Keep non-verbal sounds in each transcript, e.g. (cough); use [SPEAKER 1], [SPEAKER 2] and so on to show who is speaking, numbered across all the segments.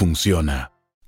[SPEAKER 1] funciona.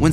[SPEAKER 2] When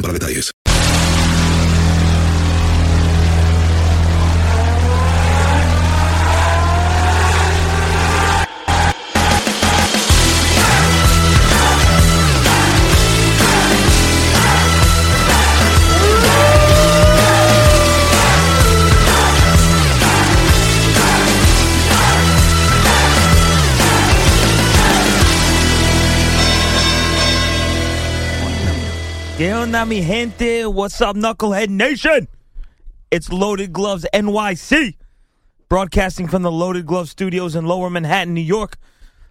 [SPEAKER 3] para detalles.
[SPEAKER 4] ¿Qué onda, mi gente? What's up, Knucklehead Nation? It's Loaded Gloves NYC, broadcasting from the Loaded Gloves Studios in Lower Manhattan, New York.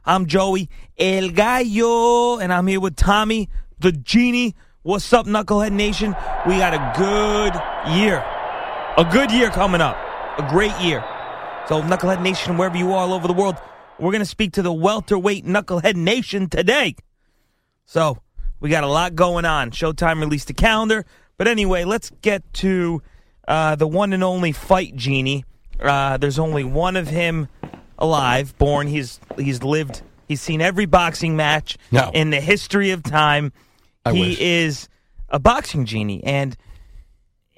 [SPEAKER 4] I'm Joey El Gallo, and I'm here with Tommy the Genie. What's up, Knucklehead Nation? We got a good year. A good year coming up. A great year. So, Knucklehead Nation, wherever you are all over the world, we're going to speak to the welterweight Knucklehead Nation today. So we got a lot going on. Showtime released the calendar. But anyway, let's get to uh, the one and only Fight Genie. Uh, there's only one of him alive, born. He's he's lived. He's seen every boxing match
[SPEAKER 5] No.
[SPEAKER 4] in the history of time. he
[SPEAKER 5] wish.
[SPEAKER 4] is a boxing genie, and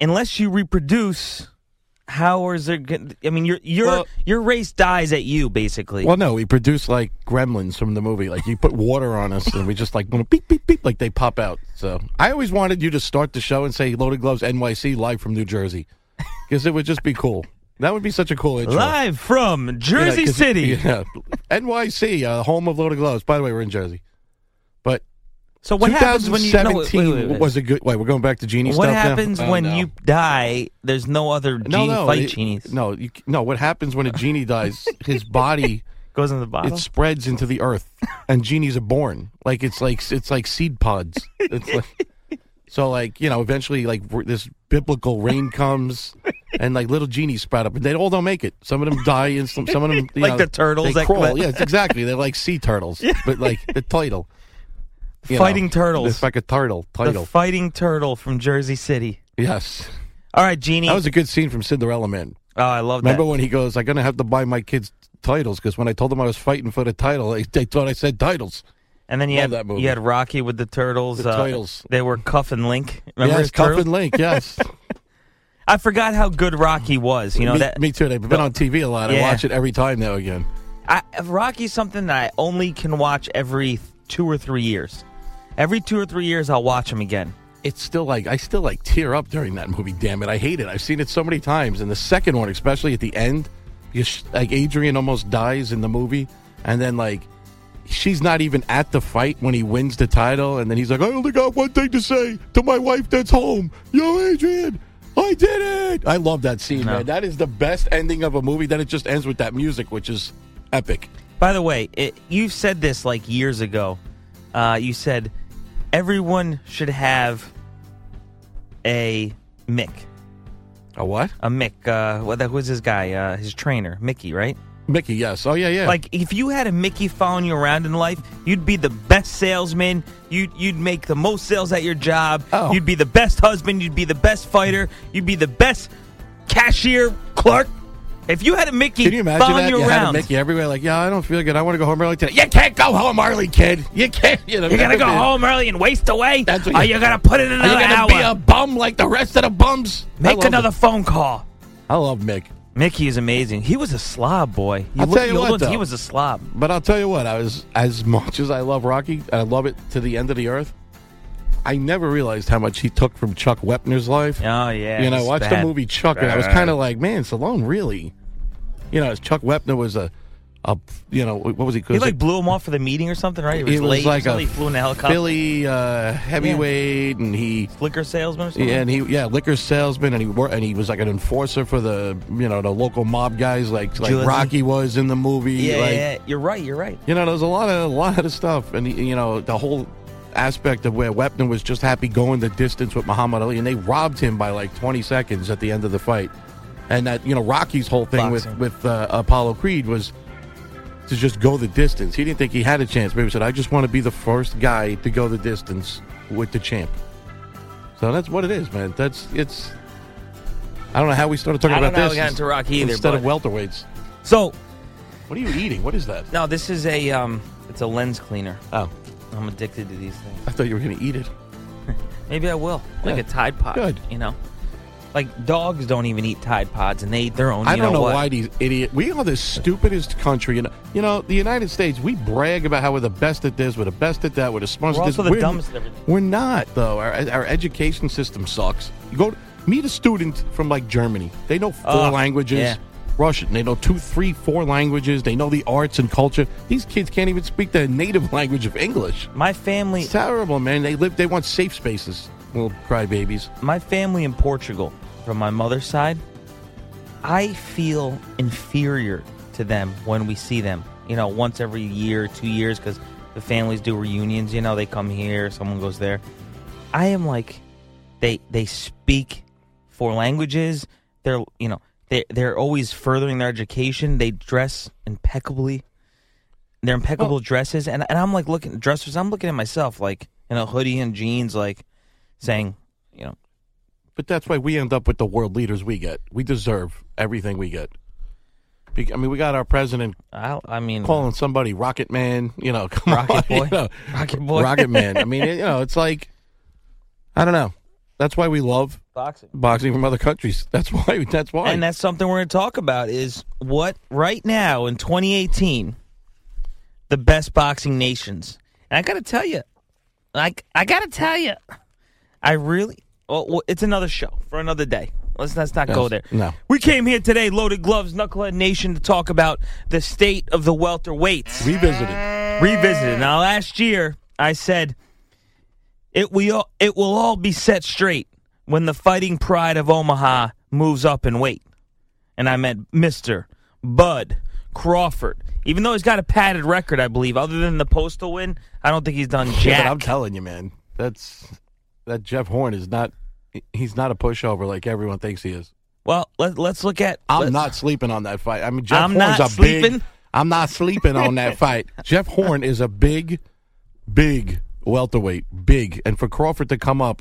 [SPEAKER 4] unless you reproduce, how is there? gon- I mean, your your
[SPEAKER 5] Well-
[SPEAKER 4] your race dies at you, basically.
[SPEAKER 5] Well, no, we produce like gremlins from the movie. Like you put water on us, and we just like going beep beep beep, like they pop out. So I always wanted you to start the show and say "Loaded Gloves NYC" live from New Jersey, because it would just be cool. That would be such a cool intro.
[SPEAKER 4] Live from
[SPEAKER 5] Yeah,
[SPEAKER 4] Jersey
[SPEAKER 5] 'cause-
[SPEAKER 4] City.
[SPEAKER 5] yeah. NYC, uh, home of Loaded Gloves. By the way, we're in Jersey, but
[SPEAKER 4] So what happens when you? no, wait,
[SPEAKER 5] 2017
[SPEAKER 4] wait, wait, wait.
[SPEAKER 5] was a good. Wait, we're going back to genie
[SPEAKER 4] What
[SPEAKER 5] stuff now?
[SPEAKER 4] happens
[SPEAKER 5] Oh,
[SPEAKER 4] when
[SPEAKER 5] no.
[SPEAKER 4] you die? There's no other genie
[SPEAKER 5] no, no,
[SPEAKER 4] fight
[SPEAKER 5] it-
[SPEAKER 4] genies.
[SPEAKER 5] No, you, no. What happens when a genie dies? His body.
[SPEAKER 4] goes in the bottle.
[SPEAKER 5] it spreads into the earth and genies are born like it's like it's like seed pods it's like
[SPEAKER 4] (laughs)
[SPEAKER 5] so like you know eventually like r- this biblical rain comes and like little genies sprout up and they all don't make it some of them die and some, some of them you
[SPEAKER 4] Like
[SPEAKER 5] know,
[SPEAKER 4] the turtles
[SPEAKER 5] they
[SPEAKER 4] that-
[SPEAKER 5] crawl yeah exactly they're like sea turtles but like
[SPEAKER 4] (laughs)
[SPEAKER 5] the title you know,
[SPEAKER 4] Fighting turtles.
[SPEAKER 5] it's like a turtle
[SPEAKER 4] the
[SPEAKER 5] title
[SPEAKER 4] fighting turtle from Jersey City.
[SPEAKER 5] yes
[SPEAKER 4] All right, genie.
[SPEAKER 5] that was a good scene from Cinderella man
[SPEAKER 4] oh, I love
[SPEAKER 5] remember
[SPEAKER 4] that.
[SPEAKER 5] when he goes I'm gonna have to buy my kids titles because when I told them I was fighting for the title they, they thought I said titles
[SPEAKER 4] and then you
[SPEAKER 5] love
[SPEAKER 4] had
[SPEAKER 5] that movie.
[SPEAKER 4] you had Rocky with the turtles.
[SPEAKER 5] The
[SPEAKER 4] uh,
[SPEAKER 5] turtles.
[SPEAKER 4] They were Cuff and Link. Remember
[SPEAKER 5] yes
[SPEAKER 4] his
[SPEAKER 5] Cuff
[SPEAKER 4] turtles?
[SPEAKER 5] and
[SPEAKER 4] (laughs)
[SPEAKER 5] Link yes.
[SPEAKER 4] I forgot how good Rocky was. You know
[SPEAKER 5] me,
[SPEAKER 4] that
[SPEAKER 5] me too. They've been on TV a lot.
[SPEAKER 4] Yeah.
[SPEAKER 5] I watch it every time now again.
[SPEAKER 4] I, Rocky's something that I only can watch every two or three years. Every two or three years, I'll watch him again.
[SPEAKER 5] It's still like I still like tear up during that movie. Damn it, I hate it. I've seen it so many times, and the second one, especially at the end, because like Adrian almost dies in the movie, and then like she's not even at the fight when he wins the title, and then he's like, "I only got one thing to say to my wife that's home, yo, Adrian." I did it! I love that scene, man. That is the best ending of a movie. Then it just ends with that music, which is epic.
[SPEAKER 4] By the way, it, you said this like years ago. Uh, you said everyone should have a Mick.
[SPEAKER 5] A what?
[SPEAKER 4] A Mick. Uh, what that was his guy? Uh, his trainer, Mickey, right?
[SPEAKER 5] Mickey, yes. Oh yeah, yeah.
[SPEAKER 4] Like if you had a Mickey following you around in life, you'd be the best salesman. You'd you'd make the most sales at your job.
[SPEAKER 5] Oh.
[SPEAKER 4] You'd be the best husband. You'd be the best fighter. You'd be the best cashier clerk. If you had a Mickey
[SPEAKER 5] Can you imagine
[SPEAKER 4] following
[SPEAKER 5] that?
[SPEAKER 4] you,
[SPEAKER 5] You had a
[SPEAKER 4] around,
[SPEAKER 5] Mickey everywhere. Like, yeah, I don't feel good. I want to go home early today. You can't go home early, kid. You can't. You know,
[SPEAKER 4] you're gonna go
[SPEAKER 5] man.
[SPEAKER 4] home early and waste away.
[SPEAKER 5] That's what
[SPEAKER 4] or
[SPEAKER 5] you-
[SPEAKER 4] you're gonna put in
[SPEAKER 5] Are you
[SPEAKER 4] another
[SPEAKER 5] gonna
[SPEAKER 4] hour.
[SPEAKER 5] be a bum like the rest of the bums? I
[SPEAKER 4] Make
[SPEAKER 5] love
[SPEAKER 4] another
[SPEAKER 5] It.
[SPEAKER 4] phone call.
[SPEAKER 5] I love Mick,
[SPEAKER 4] Mickey is amazing. He was a slob boy. You
[SPEAKER 5] I'll
[SPEAKER 4] look
[SPEAKER 5] tell
[SPEAKER 4] at
[SPEAKER 5] you
[SPEAKER 4] the old
[SPEAKER 5] what,
[SPEAKER 4] ones,
[SPEAKER 5] though.
[SPEAKER 4] he was a slob.
[SPEAKER 5] but I'll tell you what. I was as much as I love Rocky, and I love it to the end of the earth. I never realized how much he took from Chuck Wepner's life.
[SPEAKER 4] Oh yeah.
[SPEAKER 5] you know, I
[SPEAKER 4] he's
[SPEAKER 5] watched
[SPEAKER 4] bad.
[SPEAKER 5] the movie Chuck, and I was kind of like, man, Stallone really. You know, as Chuck Wepner was a, a, you know, what was he?
[SPEAKER 4] He like blew him off for the meeting or something, right? He was,
[SPEAKER 5] It was
[SPEAKER 4] late.
[SPEAKER 5] like
[SPEAKER 4] so
[SPEAKER 5] a
[SPEAKER 4] he flew in the helicopter.
[SPEAKER 5] Philly uh, heavyweight, and he
[SPEAKER 4] Flicker salesman or something.
[SPEAKER 5] Yeah, and he yeah liquor salesman, and he wor- and he was like an enforcer for the you know the local mob guys, like like
[SPEAKER 4] Jersey.
[SPEAKER 5] Rocky was in the movie.
[SPEAKER 4] yeah,
[SPEAKER 5] like,
[SPEAKER 4] yeah, yeah. You're right. You're right.
[SPEAKER 5] You know, there's a lot of a lot of stuff, and you know the whole aspect of where Wepner was just happy going the distance with Muhammad Ali, and they robbed him by like 20 seconds at the end of the fight, and that you know Rocky's whole thing
[SPEAKER 4] Boxing.
[SPEAKER 5] with with uh, Apollo Creed was. To just go the distance. He didn't think he had a chance. Maybe he said, I just want to be the first guy to go the distance with the champ. So that's what it is, man. That's it's. I don't know how we started talking
[SPEAKER 4] I don't
[SPEAKER 5] about
[SPEAKER 4] know how we
[SPEAKER 5] this
[SPEAKER 4] got into Rocky either,
[SPEAKER 5] instead of
[SPEAKER 4] but-
[SPEAKER 5] welterweights.
[SPEAKER 4] So
[SPEAKER 5] What are you eating? What is that?
[SPEAKER 4] no, this is a um, it's a lens cleaner.
[SPEAKER 5] Oh,
[SPEAKER 4] I'm addicted to these things.
[SPEAKER 5] I thought you were going to eat it.
[SPEAKER 4] Maybe I will like
[SPEAKER 5] Yeah.
[SPEAKER 4] a Tide Pod.
[SPEAKER 5] Good.
[SPEAKER 4] You know, like dogs don't even eat Tide Pods, and they eat their own.
[SPEAKER 5] I
[SPEAKER 4] you
[SPEAKER 5] don't know,
[SPEAKER 4] what?
[SPEAKER 5] why these idiot. We are the stupidest country, and you know the United States. We brag about how we're the best at this, we're the best at that, we're the smartest.
[SPEAKER 4] We're
[SPEAKER 5] at this.
[SPEAKER 4] also the dumbest at everything.
[SPEAKER 5] We're not though. Our, our education system sucks. You go meet a student from like Germany. They know four
[SPEAKER 4] Ugh,
[SPEAKER 5] languages.
[SPEAKER 4] yeah.
[SPEAKER 5] Russian. They know two, three, four languages. They know the arts and culture. These kids can't even speak their native (laughs) language of English.
[SPEAKER 4] My family,
[SPEAKER 5] It's terrible, man. They live. They want safe spaces. Little crybabies.
[SPEAKER 4] my family in Portugal from my mother's side, I feel inferior to them when we see them. You know, once every year, two years, because the families do reunions. You know, they come here, someone goes there. I am like, they they speak four languages. They're you know they they're always furthering their education. They dress impeccably. They're impeccable dresses, and and I'm like looking dressers. I'm looking at myself like in a hoodie and jeans, like saying, you know,
[SPEAKER 5] But that's why we end up with the world leaders we get. We deserve everything we get. Be- I mean, we got our president
[SPEAKER 4] I, I mean,
[SPEAKER 5] calling somebody Rocket Man. You know, (laughs) come
[SPEAKER 4] Mm-hmm. Rocket Boy.
[SPEAKER 5] on, you know,
[SPEAKER 4] Rocket Boy.
[SPEAKER 5] Rocket Man.
[SPEAKER 4] (laughs)
[SPEAKER 5] I mean, you know, it's like I don't know. That's why we love
[SPEAKER 4] boxing.
[SPEAKER 5] boxing from other countries. That's why. That's why.
[SPEAKER 4] And that's something we're going to talk about is what right now in 2018 the best boxing nations. And I got to tell you, like I got to tell you, I really well, well, it's another show for another day. Let's, let's not go
[SPEAKER 5] Yes.
[SPEAKER 4] there.
[SPEAKER 5] No.
[SPEAKER 4] We came here today, Loaded Gloves, Knucklehead Nation, to talk about the state of the welterweights.
[SPEAKER 5] Revisited.
[SPEAKER 4] revisited. Now, last year I said it we all, it will all be set straight when the fighting pride of Omaha moves up in weight, and I meant Mister Bud Crawford. Even though he's got a padded record, I believe, other than the postal win, I don't think he's done
[SPEAKER 5] Yeah, but I'm
[SPEAKER 4] jack.
[SPEAKER 5] telling you, man. That's that Jeff Horn is not. He's not a pushover like everyone thinks he is.
[SPEAKER 4] well, let, let's look at.
[SPEAKER 5] I'm
[SPEAKER 4] let's-
[SPEAKER 5] not sleeping on that fight. I mean, Jeff
[SPEAKER 4] I'm
[SPEAKER 5] Horn's
[SPEAKER 4] not
[SPEAKER 5] a
[SPEAKER 4] sleeping?
[SPEAKER 5] big. I'm not sleeping
[SPEAKER 4] (laughs)
[SPEAKER 5] on that fight. Jeff Horn is a big, big welterweight, big, and for Crawford to come up.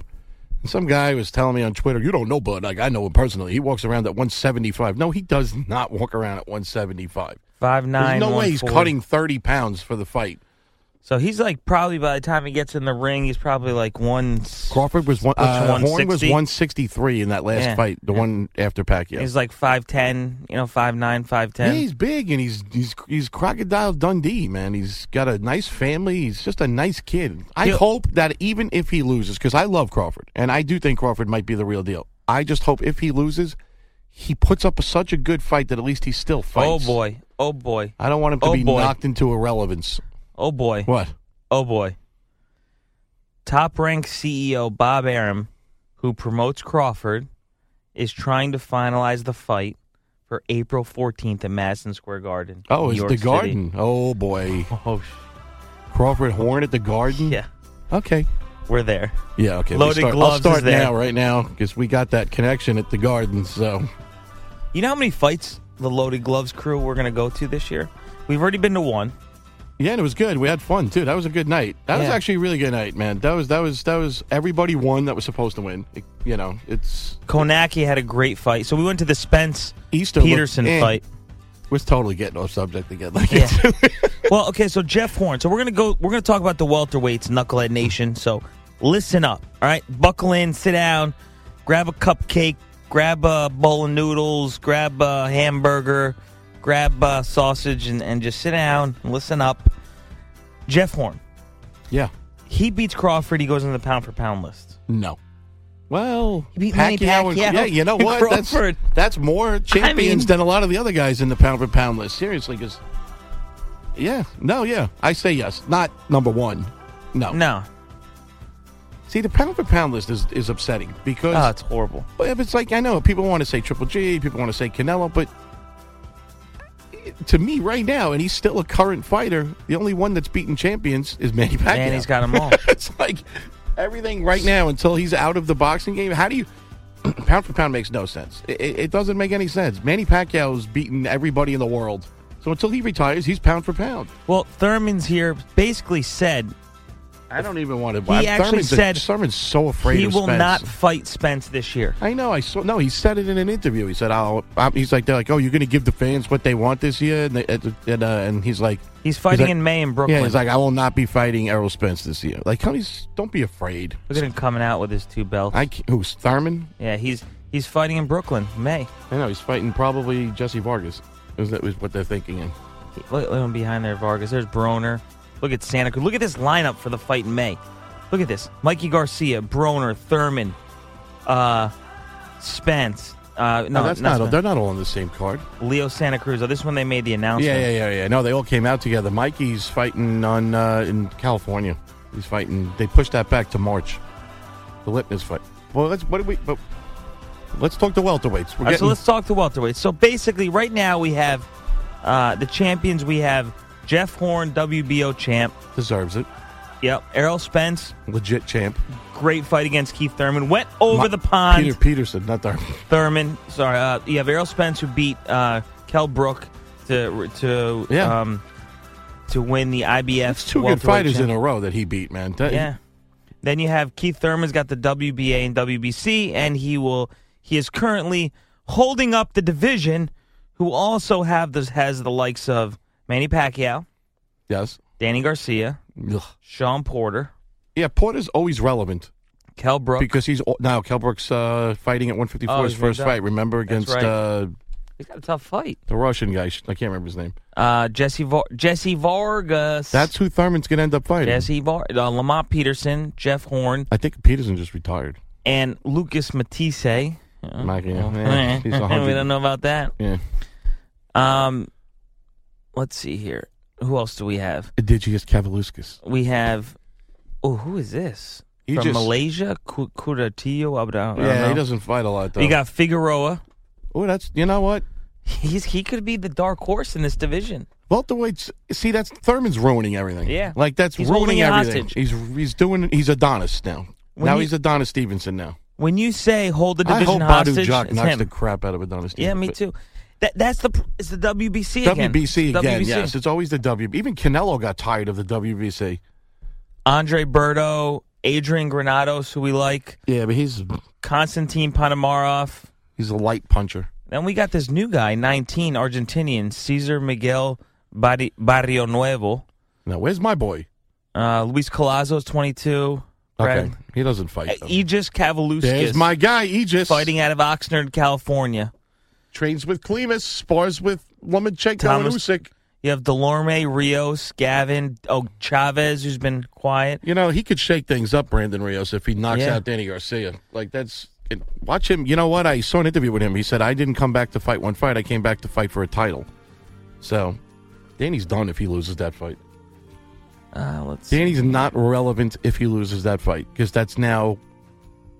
[SPEAKER 5] and Some guy was telling me on Twitter, "You don't know Bud. Like I know him personally. He walks around at 175. No, he does not walk around at 175.
[SPEAKER 4] five nine.
[SPEAKER 5] There's no way he's
[SPEAKER 4] 140.
[SPEAKER 5] cutting 30 pounds for the fight.
[SPEAKER 4] So he's like probably by the time he gets in the ring, he's probably like one.
[SPEAKER 5] Crawford was one.
[SPEAKER 4] Which
[SPEAKER 5] Uh, Horn was
[SPEAKER 4] 160?
[SPEAKER 5] 163 in that last
[SPEAKER 4] Yeah,
[SPEAKER 5] fight, the
[SPEAKER 4] yeah.
[SPEAKER 5] one after Pacquiao.
[SPEAKER 4] He's like five ten, you know, five nine, five
[SPEAKER 5] Yeah,
[SPEAKER 4] ten.
[SPEAKER 5] he's big and he's he's he's crocodile Dundee, man. He's got a nice family. He's just a nice kid. I
[SPEAKER 4] Yeah.
[SPEAKER 5] hope that even if he loses, because I love Crawford and I do think Crawford might be the real deal. I just hope if he loses, he puts up such a good fight that at least he still
[SPEAKER 4] oh
[SPEAKER 5] fights.
[SPEAKER 4] boy, oh boy.
[SPEAKER 5] I don't want him to
[SPEAKER 4] Oh,
[SPEAKER 5] be
[SPEAKER 4] boy.
[SPEAKER 5] knocked into irrelevance.
[SPEAKER 4] Oh boy.
[SPEAKER 5] What?
[SPEAKER 4] Oh boy. Top ranked CEO Bob Arum, who promotes Crawford, is trying to finalize the fight for April 14th at Madison Square Garden.
[SPEAKER 5] Oh,
[SPEAKER 4] New
[SPEAKER 5] it's
[SPEAKER 4] York
[SPEAKER 5] the
[SPEAKER 4] City.
[SPEAKER 5] garden. Oh boy,
[SPEAKER 4] Oh,
[SPEAKER 5] Crawford Horn at the garden.
[SPEAKER 4] yeah.
[SPEAKER 5] Okay.
[SPEAKER 4] We're there.
[SPEAKER 5] Yeah. Okay.
[SPEAKER 4] Loaded
[SPEAKER 5] start,
[SPEAKER 4] gloves
[SPEAKER 5] I'll
[SPEAKER 4] is
[SPEAKER 5] start
[SPEAKER 4] there.
[SPEAKER 5] now, right now, because we got that connection at the garden. So
[SPEAKER 4] You know how many fights the Loaded Gloves crew we're going to go to this year? We've already been to one.
[SPEAKER 5] yeah, and it was good. We had fun too. That was a good night. That was
[SPEAKER 4] Yeah.
[SPEAKER 5] actually a really good night, man. That was that was that was everybody won that was supposed to win. It- you know, it's
[SPEAKER 4] Konaki had a great fight. So we went to the Spence
[SPEAKER 5] Easter looked-
[SPEAKER 4] Peterson
[SPEAKER 5] eh.
[SPEAKER 4] fight.
[SPEAKER 5] we're totally getting off subject again. (laughs) Like,
[SPEAKER 4] Yeah.
[SPEAKER 5] it's-
[SPEAKER 4] well, okay, so Jeff Horn. So we're gonna go. We're gonna talk about the welterweights, Knucklehead Nation. So listen up. All right, buckle in, sit down, grab a cupcake, grab a bowl of noodles, grab a hamburger, grab a sausage, and, and just sit down and listen up. Jeff Horn.
[SPEAKER 5] yeah.
[SPEAKER 4] He beats Crawford. He goes into the pound for pound list.
[SPEAKER 5] No. Well,
[SPEAKER 4] You beat Manny
[SPEAKER 5] and-
[SPEAKER 4] Pacquiao (laughs)
[SPEAKER 5] yeah, you know
[SPEAKER 4] and
[SPEAKER 5] what?
[SPEAKER 4] Crawford.
[SPEAKER 5] That's, that's more champions
[SPEAKER 4] mean-
[SPEAKER 5] than a lot of the other guys in the pound for pound list. Seriously, because yeah, no, yeah, I say yes. Not number one. No,
[SPEAKER 4] No,
[SPEAKER 5] See, the pound for pound list is, is upsetting because
[SPEAKER 4] oh, it's horrible.
[SPEAKER 5] but if it's like I know people want to say Triple G, people want to say Canelo, but to me right now, and he's still a current fighter. The only one that's beaten champions is Manny Pacquiao.
[SPEAKER 4] Man, he's got them all.
[SPEAKER 5] (laughs) it's like everything right now until he's out of the boxing game. How do you (clears throat) pound for pound makes no sense. It, it it doesn't make any sense. Manny Pacquiao's beaten everybody in the world, so until he retires, he's pound for pound.
[SPEAKER 4] well, Thurman's here. Basically said
[SPEAKER 5] I don't even want to.
[SPEAKER 4] He actually
[SPEAKER 5] Thurman's a-
[SPEAKER 4] said
[SPEAKER 5] Thurman's so afraid.
[SPEAKER 4] he
[SPEAKER 5] of
[SPEAKER 4] will
[SPEAKER 5] Spence.
[SPEAKER 4] not fight Spence this year.
[SPEAKER 5] I know. I saw. No, he said it in an interview. He said, "Oh, I'm, he's like they're like, oh, you're going to give the fans what they want this year," and they, and, uh, and he's like,
[SPEAKER 4] He's fighting
[SPEAKER 5] like-
[SPEAKER 4] in May in Brooklyn.
[SPEAKER 5] yeah, he's like, I will not be fighting Errol Spence this year. Like, honey, s- don't be afraid.
[SPEAKER 4] Look at him coming out with his two belts.
[SPEAKER 5] I can't, who's Thurman?
[SPEAKER 4] Yeah, he's he's fighting in Brooklyn, May.
[SPEAKER 5] I know he's fighting probably Jesse Vargas. Is that is what they're thinking? In.
[SPEAKER 4] Look, look at him behind there, Vargas. There's Broner. Look at Santa Cruz. Look at this lineup for the fight in May. Look at this: Mikey Garcia, Broner, Thurman, uh, Spence. Uh, no,
[SPEAKER 5] No, Oh, that's not.
[SPEAKER 4] not
[SPEAKER 5] all
[SPEAKER 4] Spence.
[SPEAKER 5] They're not all on the same card.
[SPEAKER 4] Leo Santa Cruz. Oh, this one they made the announcement.
[SPEAKER 5] Yeah, yeah, yeah, yeah. No, they all came out together. Mikey's fighting on uh, in California. He's fighting. They pushed that back to March. The Lipness fight. Well, let's. What do we? But let's talk the welterweights.
[SPEAKER 4] All
[SPEAKER 5] We're
[SPEAKER 4] right, so
[SPEAKER 5] getting-
[SPEAKER 4] let's talk to welterweights. So basically, right now we have uh, the champions. We have Jeff Horn, WBO champ.
[SPEAKER 5] deserves it.
[SPEAKER 4] Yep, Errol Spence.
[SPEAKER 5] Legit champ.
[SPEAKER 4] Great fight against Keith Thurman. Went over
[SPEAKER 5] Mi-
[SPEAKER 4] the pond.
[SPEAKER 5] Peter Peterson,
[SPEAKER 4] (laughs)
[SPEAKER 5] not Thurman.
[SPEAKER 4] Thurman. Sorry, uh, you have Errol Spence who beat uh, Kel Brook to to
[SPEAKER 5] Yeah.
[SPEAKER 4] um, to win the IBF.
[SPEAKER 5] That's two good
[SPEAKER 4] welterweight
[SPEAKER 5] fighters
[SPEAKER 4] champ-
[SPEAKER 5] in a row that he beat, man. That-
[SPEAKER 4] Yeah. Then you have Keith Thurman's got the WBA and WBC, and he will he is currently holding up the division. Who also have this has the likes of Manny Pacquiao,
[SPEAKER 5] Yes.
[SPEAKER 4] Danny Garcia,
[SPEAKER 5] Ugh.
[SPEAKER 4] Sean Porter,
[SPEAKER 5] Yeah, Porter's always relevant
[SPEAKER 4] Kel Brook.
[SPEAKER 5] because he's al- now Kelbrook's uh, fighting at 154
[SPEAKER 4] Oh,
[SPEAKER 5] his
[SPEAKER 4] he's moved
[SPEAKER 5] first
[SPEAKER 4] up.
[SPEAKER 5] fight. Remember against
[SPEAKER 4] right.
[SPEAKER 5] uh,
[SPEAKER 4] He's got a tough fight.
[SPEAKER 5] the Russian guy? Sh- I can't remember his name.
[SPEAKER 4] Uh, Jesse Var- Jesse Vargas.
[SPEAKER 5] That's who Thurman's gonna end up fighting.
[SPEAKER 4] Jesse Var- uh, Lamont Peterson, Jeff Horn,
[SPEAKER 5] I think Peterson just retired.
[SPEAKER 4] and Lucas Matisse. Uh,
[SPEAKER 5] Mike, yeah,
[SPEAKER 4] well, (laughs)
[SPEAKER 5] yeah, he's a
[SPEAKER 4] we
[SPEAKER 5] hundred.
[SPEAKER 4] don't know about that.
[SPEAKER 5] Yeah.
[SPEAKER 4] Um, let's see here. Who else do we have?
[SPEAKER 5] Adigius Cavaluscus.
[SPEAKER 4] We have. Oh, who is this
[SPEAKER 5] He
[SPEAKER 4] from
[SPEAKER 5] just-
[SPEAKER 4] Malaysia? Ku- Kuratio Abdul.
[SPEAKER 5] Yeah, he doesn't fight a lot though.
[SPEAKER 4] You got Figueroa.
[SPEAKER 5] Oh, that's you know what?
[SPEAKER 4] He's he could be the dark horse in this division.
[SPEAKER 5] Welterweights. See, that's Thurman's ruining everything.
[SPEAKER 4] Yeah.
[SPEAKER 5] like that's
[SPEAKER 4] He's holding
[SPEAKER 5] ruining
[SPEAKER 4] it
[SPEAKER 5] everything.
[SPEAKER 4] hostage.
[SPEAKER 5] He's he's doing. He's Adonis now.
[SPEAKER 4] When
[SPEAKER 5] now
[SPEAKER 4] you-
[SPEAKER 5] he's Adonis Stevenson now.
[SPEAKER 4] When you say hold the
[SPEAKER 5] I
[SPEAKER 4] division
[SPEAKER 5] hope
[SPEAKER 4] hostage,
[SPEAKER 5] Badu Jock
[SPEAKER 4] it's
[SPEAKER 5] knocks
[SPEAKER 4] him.
[SPEAKER 5] the crap out of Adonis.
[SPEAKER 4] yeah,
[SPEAKER 5] Stevenson,
[SPEAKER 4] me
[SPEAKER 5] but-
[SPEAKER 4] too. That that's the pr- it's the WBC again.
[SPEAKER 5] WBC
[SPEAKER 4] It's
[SPEAKER 5] again. Yes, it's always the W. Even Canelo got tired of the WBC.
[SPEAKER 4] Andre Berto, Adrian Granados, who we like,
[SPEAKER 5] Yeah, but he's
[SPEAKER 4] Konstantin Panamarov.
[SPEAKER 5] he's a light puncher.
[SPEAKER 4] Then we got this new guy, 19, Argentinian, Cesar Miguel Barri- Barrio Nuevo.
[SPEAKER 5] Now, where's my boy?
[SPEAKER 4] Uh, Luis Colazo's 22.
[SPEAKER 5] Okay,
[SPEAKER 4] Brad-
[SPEAKER 5] he doesn't fight.
[SPEAKER 4] Uh,
[SPEAKER 5] Though.
[SPEAKER 4] Aegis Cavaluskis,
[SPEAKER 5] There's my guy,
[SPEAKER 4] (laughs)
[SPEAKER 5] Aegis.
[SPEAKER 4] fighting out of Oxnard, California.
[SPEAKER 5] trains with Clemus, spars with Lomachenko and
[SPEAKER 4] Thomas-
[SPEAKER 5] Usyk.
[SPEAKER 4] You have Delorme, Rios, Gavin, oh, Chavez, who's been quiet.
[SPEAKER 5] You know, he could shake things up, Brandon Rios, if he knocks
[SPEAKER 4] Yeah.
[SPEAKER 5] out Danny Garcia. Like, that's. and watch him. You know what? I saw an interview with him. He said, I didn't come back to fight one fight. I came back to fight for a title. So, Danny's done if he loses that fight.
[SPEAKER 4] Uh, let's see.
[SPEAKER 5] Danny's not relevant if he loses that fight because that's now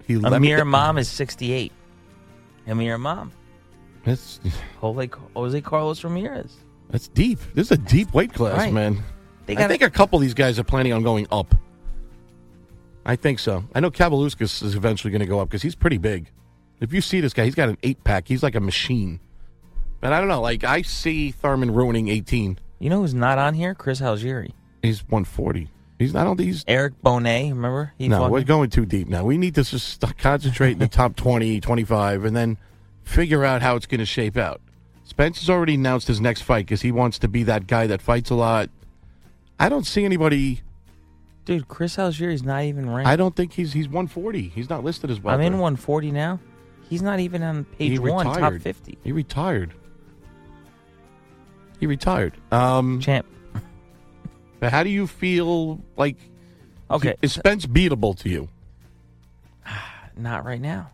[SPEAKER 5] he left.
[SPEAKER 4] Amir Mom is 68. Amir Mom.
[SPEAKER 5] That's
[SPEAKER 4] Jose, Jose Carlos Ramirez.
[SPEAKER 5] that's deep. This is a deep weight class,
[SPEAKER 4] Right.
[SPEAKER 5] man.
[SPEAKER 4] They
[SPEAKER 5] I
[SPEAKER 4] got
[SPEAKER 5] think a couple of these guys are planning on going up. I think so. I know Kavaluskas is eventually going to go up because he's pretty big. If you see this guy, he's got an eight pack. He's like a machine. But I don't know. Like I see Thurman ruining eighteen.
[SPEAKER 4] You know who's not on here? Chris Algieri.
[SPEAKER 5] He's one forty. He's I don't think he's
[SPEAKER 4] Eric Bonet, remember? He
[SPEAKER 5] no,
[SPEAKER 4] fought-
[SPEAKER 5] we're going too deep now. We need to just st- concentrate in
[SPEAKER 4] (laughs)
[SPEAKER 5] the top 20, 25, and then figure out how it's going to shape out. Spencer's already announced his next fight because he wants to be that guy that fights a lot. I don't see anybody.
[SPEAKER 4] Dude, Chris Algieri's not even ranked.
[SPEAKER 5] I don't think he's he's 140. He's not listed as well.
[SPEAKER 4] I'm in 140 now. He's not even on page one, top 50.
[SPEAKER 5] He retired. He retired. Um,
[SPEAKER 4] Champ.
[SPEAKER 5] but how do you feel? Like,
[SPEAKER 4] Okay,
[SPEAKER 5] is Spence beatable to you?
[SPEAKER 4] not right now.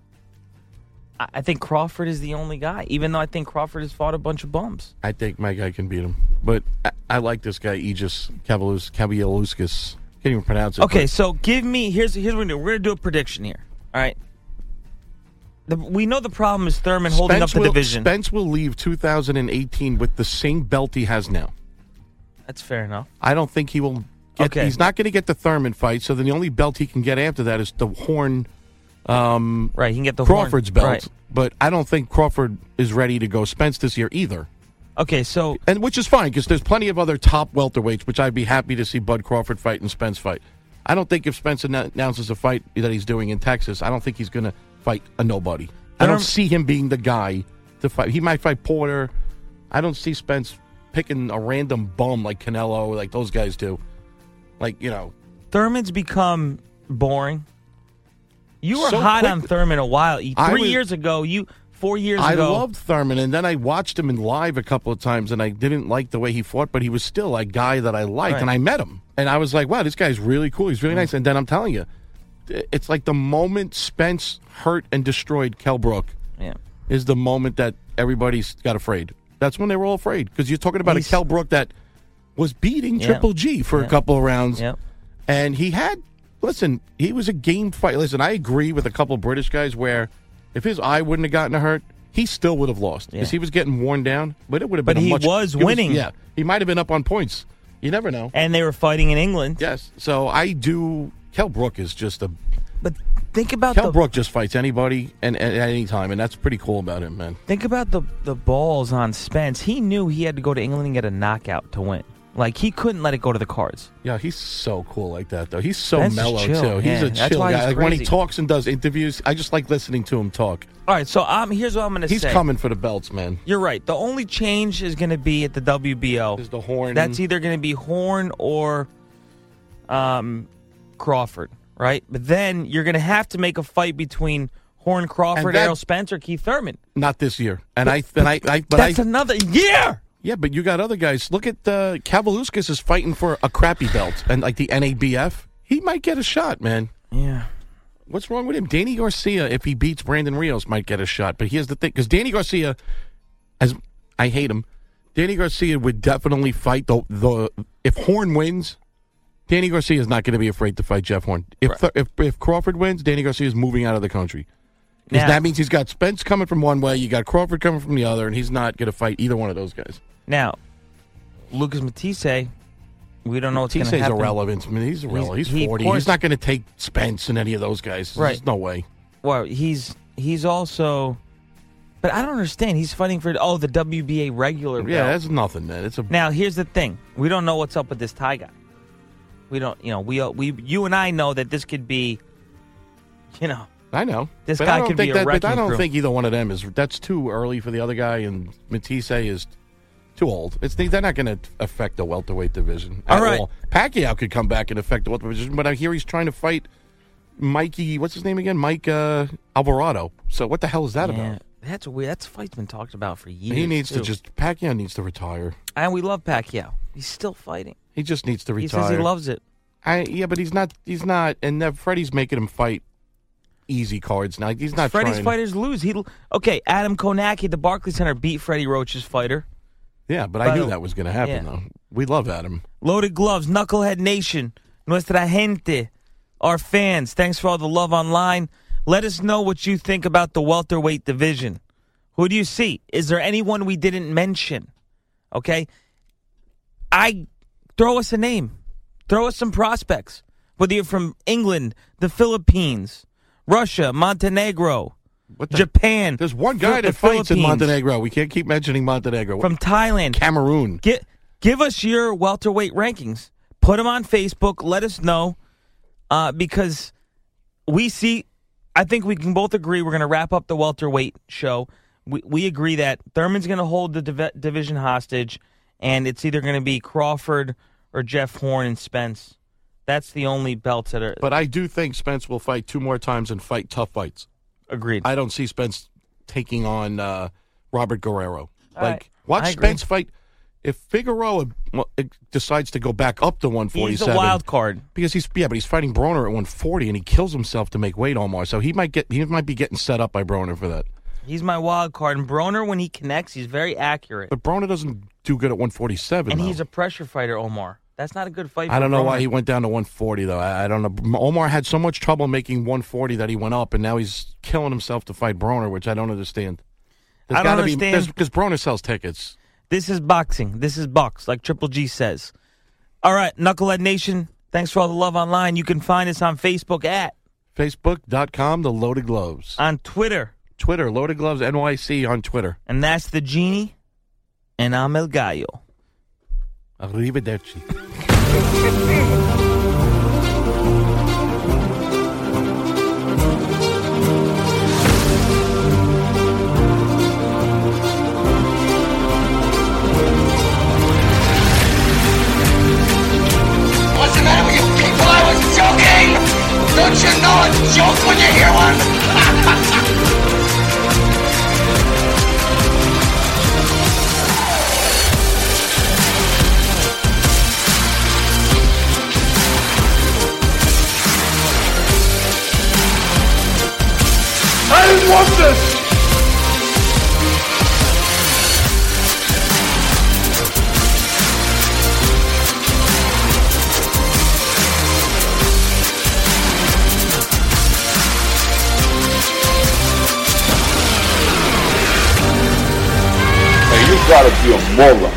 [SPEAKER 4] I, I think Crawford is the only guy, even though I think Crawford has fought a bunch of bums.
[SPEAKER 5] I think my guy can beat him. But I, I like this guy, Aegis Kabalus, Kabaluskas. Can't even pronounce it.
[SPEAKER 4] Okay, so give me here's here's what we're gonna do. We're gonna do a prediction here. All right. The, we know the problem is Thurman
[SPEAKER 5] but
[SPEAKER 4] holding up the
[SPEAKER 5] will,
[SPEAKER 4] division.
[SPEAKER 5] Spence will leave 2018 with the same belt he has now.
[SPEAKER 4] That's fair enough.
[SPEAKER 5] I don't think he will. Get,
[SPEAKER 4] Okay.
[SPEAKER 5] He's not going to get the Thurman fight, so then the only belt he can get after that is the Horn
[SPEAKER 4] Right, he can get the horn.
[SPEAKER 5] Crawford's belt.
[SPEAKER 4] Right.
[SPEAKER 5] But I don't think Crawford is ready to go Spence this year either.
[SPEAKER 4] Okay, so
[SPEAKER 5] and which is fine because there's plenty of other top welterweights which I'd be happy to see Bud Crawford fight and Spence fight. I don't think if Spence annou- announces a fight that he's doing in Texas, I don't think he's going to fight a nobody. I
[SPEAKER 4] Thurm-
[SPEAKER 5] don't see him being the guy to fight. He might fight Porter. I don't see Spence picking a random bum like Canelo, like those guys do. Like you know,
[SPEAKER 4] Thurman's become boring. You were
[SPEAKER 5] So
[SPEAKER 4] hot
[SPEAKER 5] quick-
[SPEAKER 4] on Thurman a while. Three
[SPEAKER 5] I was-
[SPEAKER 4] years ago, you four years
[SPEAKER 5] I
[SPEAKER 4] ago.
[SPEAKER 5] loved Thurman, and then I watched him in live a couple of times, and I didn't like the way he fought, but he was still a guy that I liked,
[SPEAKER 4] Right. Mm.
[SPEAKER 5] and I met him, and I was like, wow, this guy's really cool. He's really nice. And then I'm telling you, th- it's like the moment Spence hurt and destroyed Kell Brook
[SPEAKER 4] yeah.
[SPEAKER 5] is the moment that everybody's got afraid. That's when they were all afraid because you're talking about
[SPEAKER 4] He's-
[SPEAKER 5] a Kell Brook that was beating
[SPEAKER 4] Yeah.
[SPEAKER 5] Triple G for
[SPEAKER 4] Yeah.
[SPEAKER 5] a couple of rounds,
[SPEAKER 4] Yep.
[SPEAKER 5] and he had. Listen, he was a game fight. Listen, I agree with a couple of British guys where if his eye wouldn't have gotten hurt, he still would have lost
[SPEAKER 4] Yeah.
[SPEAKER 5] because he was getting worn down. But it would have
[SPEAKER 4] But
[SPEAKER 5] been. a
[SPEAKER 4] he
[SPEAKER 5] much,
[SPEAKER 4] was
[SPEAKER 5] it
[SPEAKER 4] winning.
[SPEAKER 5] yeah, he might have been up on points. You never know.
[SPEAKER 4] And they were fighting in England.
[SPEAKER 5] Yes. So I do. Kell Brook is just a
[SPEAKER 4] But think about
[SPEAKER 5] Kell
[SPEAKER 4] the
[SPEAKER 5] Brook just fights anybody and, and at any time, and that's pretty cool about him, man.
[SPEAKER 4] Think about the the balls on Spence. He knew he had to go to England and get a knockout to win. Like he couldn't let it go to the cards.
[SPEAKER 5] Yeah, he's so cool like that though. He's so
[SPEAKER 4] That's just
[SPEAKER 5] mellow
[SPEAKER 4] chill,
[SPEAKER 5] too. He's
[SPEAKER 4] yeah.
[SPEAKER 5] a
[SPEAKER 4] That's
[SPEAKER 5] chill
[SPEAKER 4] why
[SPEAKER 5] guy.
[SPEAKER 4] he's
[SPEAKER 5] like when he
[SPEAKER 4] crazy.
[SPEAKER 5] talks and does interviews, I just like listening to him talk.
[SPEAKER 4] All right, so I'm here's what I'm going to say.
[SPEAKER 5] He's coming for the belts, man.
[SPEAKER 4] You're right. The only change is going to be at the WBO.
[SPEAKER 5] Is the horn?
[SPEAKER 4] That's e- either going to be Horn or um, Crawford, right? But then you're going to have to make a fight between Horn Crawford,
[SPEAKER 5] And that-
[SPEAKER 4] Errol Spence, or Keith Thurman.
[SPEAKER 5] not this year. And I, and I, I, but I,
[SPEAKER 4] That's another year.
[SPEAKER 5] yeah, but you got other guys. Look at uh, Kavaluskas is fighting for a crappy belt and like the NABF. He might get a shot, man.
[SPEAKER 4] Yeah.
[SPEAKER 5] What's wrong with him? Danny Garcia, if he beats Brandon Rios, might get a shot. But here's the thing: because Danny Garcia, as I hate him, Danny Garcia would definitely fight the the if Horn wins. Danny Garcia is not going to be afraid to fight Jeff Horn. If
[SPEAKER 4] Right.
[SPEAKER 5] if if Crawford wins, Danny Garcia is moving out of the country. 'Cause
[SPEAKER 4] Now-
[SPEAKER 5] that means he's got Spence coming from one way, you got Crawford coming from the other, and he's not going to fight either one of those guys.
[SPEAKER 4] Now, Lucas Matisse, we don't know what's going
[SPEAKER 5] Tisse's
[SPEAKER 4] to happen.
[SPEAKER 5] irrelevant. I mean, he's irrelevant. He's,
[SPEAKER 4] he- of
[SPEAKER 5] 40.
[SPEAKER 4] course-
[SPEAKER 5] he's not going to take Spence and any of those guys. There's
[SPEAKER 4] Right.
[SPEAKER 5] no way.
[SPEAKER 4] Well, he's he's also, but I don't understand. He's fighting for oh the WBA regular.
[SPEAKER 5] Yeah,
[SPEAKER 4] belt.
[SPEAKER 5] that's nothing, man. It's a
[SPEAKER 4] Now, here's the thing: we don't know what's up with this Thai guy. We don't, you know, we uh, we you and I know that this could be, you know,
[SPEAKER 5] I know.
[SPEAKER 4] This
[SPEAKER 5] but
[SPEAKER 4] guy
[SPEAKER 5] I don't
[SPEAKER 4] could
[SPEAKER 5] think
[SPEAKER 4] be a
[SPEAKER 5] that, But I
[SPEAKER 4] wrecking
[SPEAKER 5] don't
[SPEAKER 4] crew.
[SPEAKER 5] think either one of them is. That's too early for the other guy, and Matisse is too old. It's they're not going to affect the welterweight division. at
[SPEAKER 4] All right.
[SPEAKER 5] Pacquiao could come back and affect the welterweight division, but I hear he's trying to fight Mikey. What's his name again? Mike uh, Alvarado. So what the hell is that
[SPEAKER 4] yeah,
[SPEAKER 5] about?
[SPEAKER 4] that's weird. That's fight's been talked about for years.
[SPEAKER 5] He needs to
[SPEAKER 4] too.
[SPEAKER 5] just Pacquiao needs to retire.
[SPEAKER 4] and we love Pacquiao. He's still fighting.
[SPEAKER 5] He just needs to retire.
[SPEAKER 4] He says he loves it.
[SPEAKER 5] I, yeah, but he's not. He's not. And that Freddie's making him fight easy cards now. He's not.
[SPEAKER 4] Freddie's
[SPEAKER 5] trying.
[SPEAKER 4] fighters lose. He okay. Adam Konaki, the Barclays Center, beat Freddie Roach's fighter.
[SPEAKER 5] Yeah, but
[SPEAKER 4] By
[SPEAKER 5] I knew
[SPEAKER 4] the-
[SPEAKER 5] that was going to happen,
[SPEAKER 4] yeah.
[SPEAKER 5] though. We love Adam.
[SPEAKER 4] Loaded Gloves, Knucklehead Nation, Nuestra Gente, our fans, thanks for all the love online. Let us know what you think about the welterweight division. Who do you see? Is there anyone we didn't mention? Okay. I throw us a name. Throw us some prospects. Whether you're from England, the Philippines, Russia, Montenegro,
[SPEAKER 5] What the-
[SPEAKER 4] Japan.
[SPEAKER 5] There's one
[SPEAKER 4] Phil-
[SPEAKER 5] guy
[SPEAKER 4] the
[SPEAKER 5] that fights in
[SPEAKER 4] Philippines,
[SPEAKER 5] Montenegro. We can't keep mentioning Montenegro.
[SPEAKER 4] From Thailand.
[SPEAKER 5] Cameroon.
[SPEAKER 4] Get, give us your welterweight rankings. Put them on Facebook. Let us know uh, because we see. I think we can both agree we're going to wrap up the welterweight show. We, we agree that Thurman's going to hold the div- division hostage, and it's either going to be Crawford or Jeff Horn and Spence. That's the only belts that are
[SPEAKER 5] But I do think Spence will fight two more times and fight tough fights.
[SPEAKER 4] agreed.
[SPEAKER 5] I don't see Spence taking on uh, Robert Guerrero.
[SPEAKER 4] All
[SPEAKER 5] like,
[SPEAKER 4] right.
[SPEAKER 5] watch
[SPEAKER 4] I agree.
[SPEAKER 5] Spence fight. If Figueroa well, it decides to go back up to 147,
[SPEAKER 4] He's the wild card.
[SPEAKER 5] because he's yeah, but he's fighting Broner at 140, and he kills himself to make weight Omar. So he might get he might be getting set up by Broner for that.
[SPEAKER 4] He's my wild card. And Broner, when he connects, he's very accurate,
[SPEAKER 5] But Broner doesn't do good at 147.
[SPEAKER 4] and
[SPEAKER 5] though.
[SPEAKER 4] he's a pressure fighter. Omar, that's not a good fight.
[SPEAKER 5] I
[SPEAKER 4] for
[SPEAKER 5] don't know
[SPEAKER 4] Broner.
[SPEAKER 5] why he went down to 140 though. I, I don't know. Omar had so much trouble making 140 that he went up, and now he's killing himself to fight Broner, which I don't understand.
[SPEAKER 4] I don't understand.
[SPEAKER 5] because Broner sells tickets.
[SPEAKER 4] This is boxing. This is box, like Triple G says. All right, Knucklehead Nation, thanks for all the love online. You can find us on Facebook at,
[SPEAKER 5] Facebook.com, the Loaded Gloves.
[SPEAKER 4] on Twitter,
[SPEAKER 5] Twitter, Loaded Gloves NYC on Twitter.
[SPEAKER 4] and that's the genie, and I'm El Gallo.
[SPEAKER 5] Arrivederci.
[SPEAKER 6] What's the matter with you people? I was joking! Don't you know it's a joke when you hear one? I didn't want this!
[SPEAKER 7] Hey, you gotta be a moron.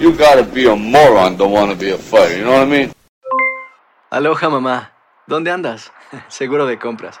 [SPEAKER 7] You gotta be a moron to wanna be a fighter, you know what I mean?
[SPEAKER 8] Aloha mamá, ¿dónde andas? Seguro de compras.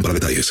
[SPEAKER 3] para detalles.